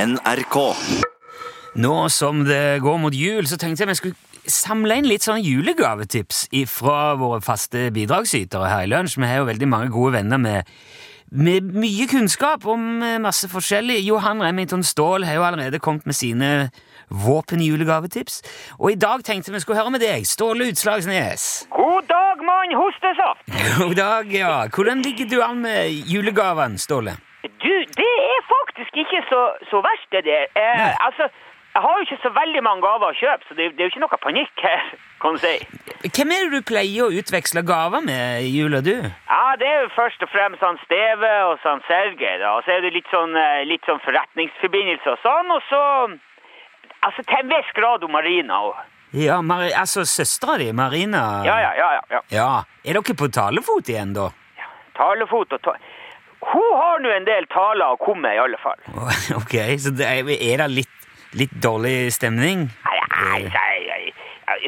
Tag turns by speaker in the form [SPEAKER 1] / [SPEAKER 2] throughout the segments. [SPEAKER 1] NRK.
[SPEAKER 2] Nå som det går mot jul, så tenkte jeg vi skulle samle inn litt sånn julegavetips fra våre faste bidragsytere her i lunsj. Vi har jo veldig mange gode venner med, med mye kunnskap om eh, masse forskjellig. Johan Remington Ståhl har jo allerede kommet med sine våpenjulegavetips. Og i dag tenkte vi skulle høre med deg, Ståle Utslagsnes.
[SPEAKER 3] God dag, mann hostesaft!
[SPEAKER 2] God dag, ja. Hvordan ligger du an med julegavene, Ståle?
[SPEAKER 3] Du, det er faktisk ikke så, så verst, det der. Eh,
[SPEAKER 2] Nei.
[SPEAKER 3] altså, jeg har jo ikke så veldig mange gaver å kjøpe, så det, det er jo ikke noe panikk her, kan du si.
[SPEAKER 2] Hvem er det du pleier å utveksle gaver med i jula, du?
[SPEAKER 3] Ja, det er jo først og fremst han Steve og han Sergej, da. Og så er det litt sånn, eh, litt sånn forretningsforbindelse og sånn, og så Altså, til en viss grad om Marina òg.
[SPEAKER 2] Ja, Mari altså søstera di, Marina.
[SPEAKER 3] Ja, ja, ja, ja, ja.
[SPEAKER 2] Ja, Er dere på talefot igjen, da?
[SPEAKER 3] Talefot og ta... Hun har nå en del taler å komme med, i alle fall.
[SPEAKER 2] Ok, så det er, er det litt, litt dårlig stemning?
[SPEAKER 3] Nei, nei, nei, nei.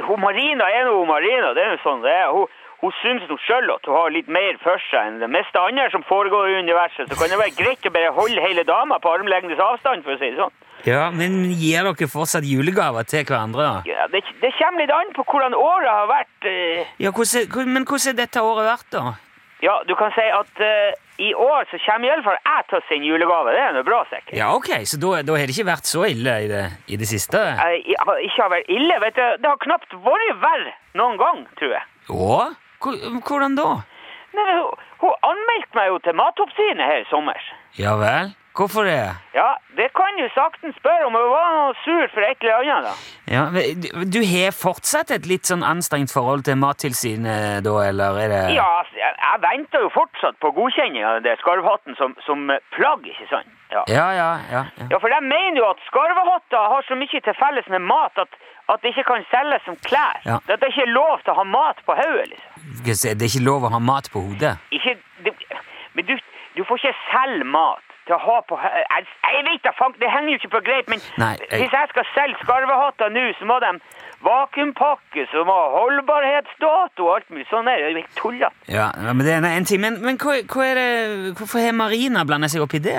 [SPEAKER 3] Hun Marina er noe Marina, det er jo sånn det er. Hun, hun syns nå sjøl at hun har litt mer for seg enn det meste andre som foregår i universet, så kan det være greit å bare holde hele dama på armlengdes avstand, for å si det sånn.
[SPEAKER 2] Ja, Men gir dere fortsatt julegaver til hverandre? da?
[SPEAKER 3] Ja, det, det kommer litt an på hvordan året har vært. eh.
[SPEAKER 2] Ja, hvordan, er- hvor- Men hvordan har dette året vært, da?
[SPEAKER 3] Ja, du kan si at eh, i år så kommer iallfall jeg til å sende julegave, det er nå bra, sikkert.
[SPEAKER 2] Ja, ok, Så da, da har det ikke vært så ille i det, i det siste?
[SPEAKER 3] Jeg Eh, har ikke har vært ille, vet du. Det har knapt vært verre noen gang, tror jeg.
[SPEAKER 2] Å? Hvor- Hvordan da?
[SPEAKER 3] Nei, men hun, hun anmeldte meg jo til Matoppsynet her i sommers.
[SPEAKER 2] Ja vel? Hvorfor det?
[SPEAKER 3] Ja, det kan du saktens spørre om. Hun var noe sur for et eller annet, da.
[SPEAKER 2] Ja, men du, du har fortsatt et litt sånn anstrengt forhold til Mattilsynet, da, eller er det
[SPEAKER 3] Ja, altså, jeg, jeg venter jo fortsatt på godkjenning av den der skarvhatten som, som plagg, ikke sant? Ja.
[SPEAKER 2] Ja, ja, ja, ja.
[SPEAKER 3] ja, for de mener jo at skarvehatter har så mye til felles med mat at, at det ikke kan selges som klær.
[SPEAKER 2] Ja.
[SPEAKER 3] At det ikke er lov til å ha mat på hodet, liksom.
[SPEAKER 2] Skal jeg si, Det er ikke lov å ha mat på hodet.
[SPEAKER 3] Ikke, du, men du, du får ikke selge mat til å ha på hø- Jeg, jeg vet da, fank, det henger jo ikke på greit, men
[SPEAKER 2] Nei, jeg-
[SPEAKER 3] hvis jeg skal selge skarvehatter nå, så må de vakuumpakke, så må ha holdbarhetsdato og alt mulig. Sånn er det. Det er helt tullete.
[SPEAKER 2] Ja, ja, men det er en ting. Men, men hva, hva er det, hvorfor har Marina blanda seg opp i det?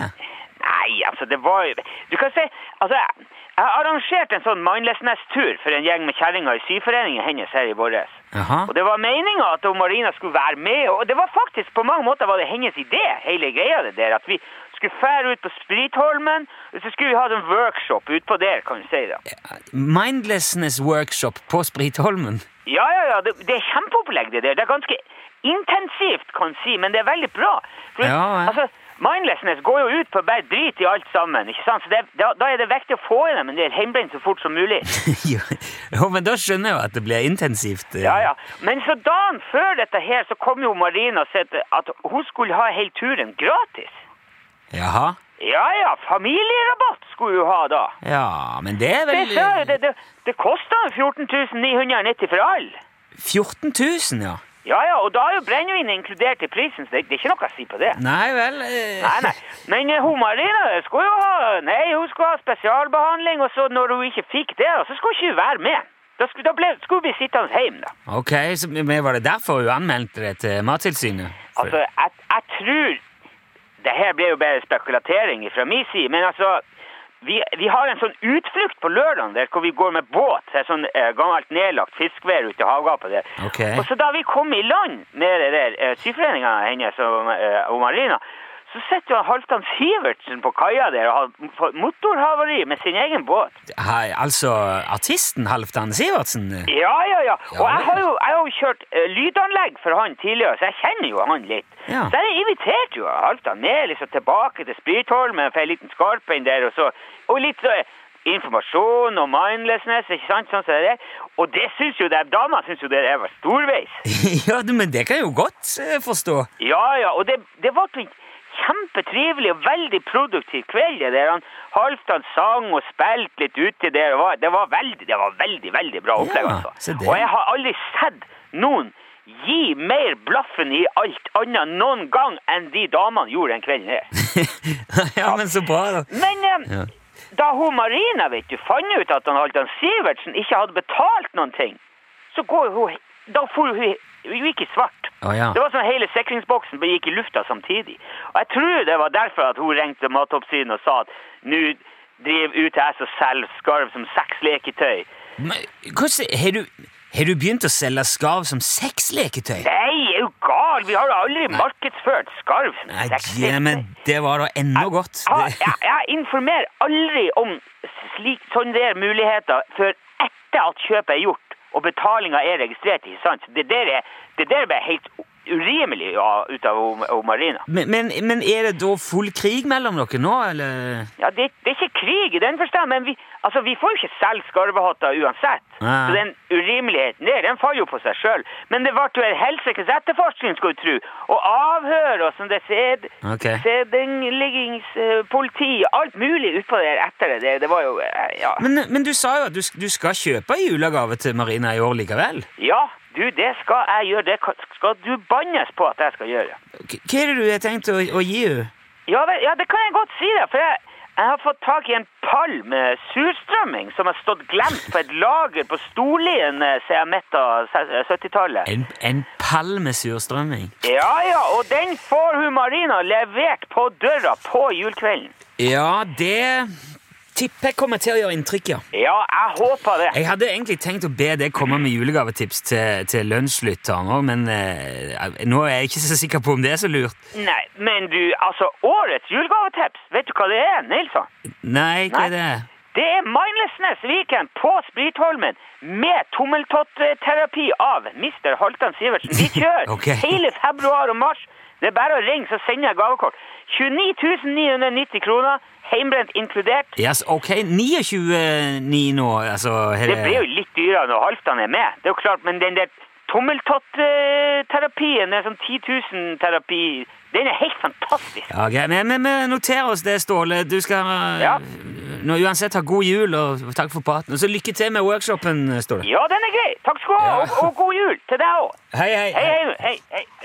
[SPEAKER 3] Nei, altså, det var jo Du kan se Altså, jeg, jeg har arrangert en sånn Mindlessness-tur for en gjeng med kjerringer i syforeningen hennes her i våres.
[SPEAKER 2] Jaha.
[SPEAKER 3] Og det var meninga at hun Marina skulle være med, og det var faktisk på mange måter var det hennes idé, hele greia det der, at vi skulle fære ut på Spritholmen, og så skulle vi ha en workshop utpå der, kan du si da.
[SPEAKER 2] Mindlessness workshop på Spritholmen.
[SPEAKER 3] Ja, ja, ja, det, det er kjempeopplegg det der. Det er ganske intensivt, kan du si, men det er veldig bra. For,
[SPEAKER 2] Ja, ja.
[SPEAKER 3] Altså, mindlessness går jo ut på å bare drit i alt sammen, ikke sant? Så det, da, da er det viktig å få i dem en del hjemmebrent så fort som mulig.
[SPEAKER 2] jo, jo, men da skjønner jeg jo at det blir intensivt. eh.
[SPEAKER 3] Ja, ja. Men så dagen før dette her, så kom jo Marina og sa at- at hun skulle ha hele turen gratis.
[SPEAKER 2] Jaha.
[SPEAKER 3] Ja, ja, familierabatt skulle hun ha da.
[SPEAKER 2] Ja, men det er
[SPEAKER 3] Det,
[SPEAKER 2] vel
[SPEAKER 3] sa jeg, det, det, det kostet 14 990 for alle.
[SPEAKER 2] 14 000, ja.
[SPEAKER 3] Ja, ja, og da er jo brennevinet inkludert i prisen, så det, det er ikke noe å si på det.
[SPEAKER 2] Nei vel eh.
[SPEAKER 3] Nei, nei. Men eh, hun Marina skulle jo ha Nei, hun skulle ha spesialbehandling, og så når hun ikke fikk det, så skulle hun ikke være med. Da skulle, da ble, skulle vi sittende hjemme, da.
[SPEAKER 2] Ok, så, men Var det derfor hun anmeldte det til Mattilsynet?
[SPEAKER 3] Altså, jeg, jeg tror Det her blir jo bare spekulatering fra min side, men altså vi, vi har en sånn utflukt på lørdagen der hvor vi går med båt. Det er sånn eh, gammelt nedlagt fiskevær ute i havgapet der.
[SPEAKER 2] Ok.
[SPEAKER 3] Og så da vi kom i land med det der eh, syforeninga hennes og, eh, og Marina, så sitter jo Halvdan Sivertsen på kaia der og har m- fått motorhavari med sin egen båt.
[SPEAKER 2] Hei, altså artisten Halvdan Sivertsen? eh.
[SPEAKER 3] Ja, ja, ja. Og
[SPEAKER 2] Ja,
[SPEAKER 3] jeg har jo, jeg har jo kjørt eh, lydanlegg for han tidligere, så jeg kjenner jo han litt.
[SPEAKER 2] Ja.
[SPEAKER 3] Så jeg inviterte jo Halvdan med liksom tilbake til Spritholmen for en liten skarp inn der, og så og litt så, eh, informasjon og mindlessness, ikke sant, sånn som det er. Og det syns jo de damene syns jo det der var storveis.
[SPEAKER 2] ja, du, men det kan jeg jo godt eh, forstå.
[SPEAKER 3] Ja, ja, og det, det var en kjempetrivelig og veldig produktiv kveld, det der han Halvdan sang og spilte litt ute der, og var- det var veldig, det var veldig, veldig bra opplegg,
[SPEAKER 2] Ja,
[SPEAKER 3] altså.
[SPEAKER 2] se det.
[SPEAKER 3] Og jeg har aldri sett noen gi mer blaffen i alt annet noen gang enn de damene gjorde den kvelden her.
[SPEAKER 2] ja, men så bra, da.
[SPEAKER 3] Men eh,
[SPEAKER 2] Ja.
[SPEAKER 3] da hun Marina, vet du, fant ut at han Halvdan Sivertsen ikke hadde betalt noen ting, så går hun, da for hun, hun gikk i svart.
[SPEAKER 2] Å ja.
[SPEAKER 3] Det var som hele sikringsboksen gikk i lufta samtidig. Og jeg tror det var derfor at hun ringte matoppsynet og sa at nå driver UTS og selger skarv som sexleketøy.
[SPEAKER 2] Men, hvordan, har, du, har du begynt å selge skarv som sexleketøy?
[SPEAKER 3] Nei, er du gal? Vi har aldri markedsført skarv som
[SPEAKER 2] Nei,
[SPEAKER 3] sexleketøy.
[SPEAKER 2] ja, men det var da enda godt.
[SPEAKER 3] Ja,
[SPEAKER 2] Det-
[SPEAKER 3] jeg, jeg informerer aldri om slik, sånne der muligheter før etter at kjøpet er gjort og betalinga er registrert. ikke sant? Det der, er, det der ble helt urimelig ja, ut av O- O Marina.
[SPEAKER 2] Men, men, men er det da full krig mellom dere nå, eller?
[SPEAKER 3] Ja, det, det er ikke krig i den forstand, men vi, altså, vi får jo ikke selge skarvehatter uansett.
[SPEAKER 2] Nei.
[SPEAKER 3] Så den urimeligheten der, den faller jo på seg sjøl. Men det ble jo en helsikes etterforskning, skal du tro. Og avhør og sånn det sed,
[SPEAKER 2] Ok.
[SPEAKER 3] sedenleggingspoliti, alt mulig utpå der etter det. Det, det var jo eh, Ja.
[SPEAKER 2] Men, men du sa jo at du, sk- du skal kjøpe en julegave til Marina i år likevel.
[SPEAKER 3] Ja, du, det skal jeg gjøre. Det kan- skal du bannes på at jeg skal gjøre.
[SPEAKER 2] K hva er det du har tenkt å, å gi henne?
[SPEAKER 3] Ja, vel, ja, det kan jeg godt si deg, for jeg, jeg har fått tak i en pall med surstrømming som har stått glemt på et lager på Storlien eh, siden midt av se- eh, 70-tallet.
[SPEAKER 2] En, en pall med surstrømming.
[SPEAKER 3] Ja, ja, og den får hun Marina levert på døra på julekvelden.
[SPEAKER 2] Ja, det tipper jeg kommer til å gjøre inntrykk, ja.
[SPEAKER 3] Ja, jeg håper det.
[SPEAKER 2] Jeg hadde egentlig tenkt å be deg komme med julegavetips til, til lunsjlytteren òg, men eh, nå er jeg ikke så sikker på om det er så lurt.
[SPEAKER 3] Nei, men du, altså, årets julegavetips, vet du hva det er, Nilsson?
[SPEAKER 2] Nei, hva er det?
[SPEAKER 3] Det er Mindlessness Weekend på Spritholmen med tommeltott-terapi av Mr. Halvdan Sivertsen. Vi kjører
[SPEAKER 2] Ok.
[SPEAKER 3] hele februar og mars. Det er bare å ringe, så sender jeg gavekort. 29 990 kroner, heimbrent inkludert.
[SPEAKER 2] Yes, ok, 29,9 nå, altså er
[SPEAKER 3] Det blir jo litt dyrere når Halvdan er med, det er jo klart, men den der tommeltott-terapien, den sånn 10 000-terapi, den er helt fantastisk.
[SPEAKER 2] Ja, greit. Men, men, men noter oss det, Ståle. Du skal eh,
[SPEAKER 3] Ja.
[SPEAKER 2] nå, uansett ha god jul, og takk for praten. Og så lykke til med workshopen, Ståle.
[SPEAKER 3] Ja, den er grei. Takk skal du ha,
[SPEAKER 2] Ja.
[SPEAKER 3] og, og god jul til deg òg.
[SPEAKER 2] Hei, hei.
[SPEAKER 3] Hei, hei, hei, hei.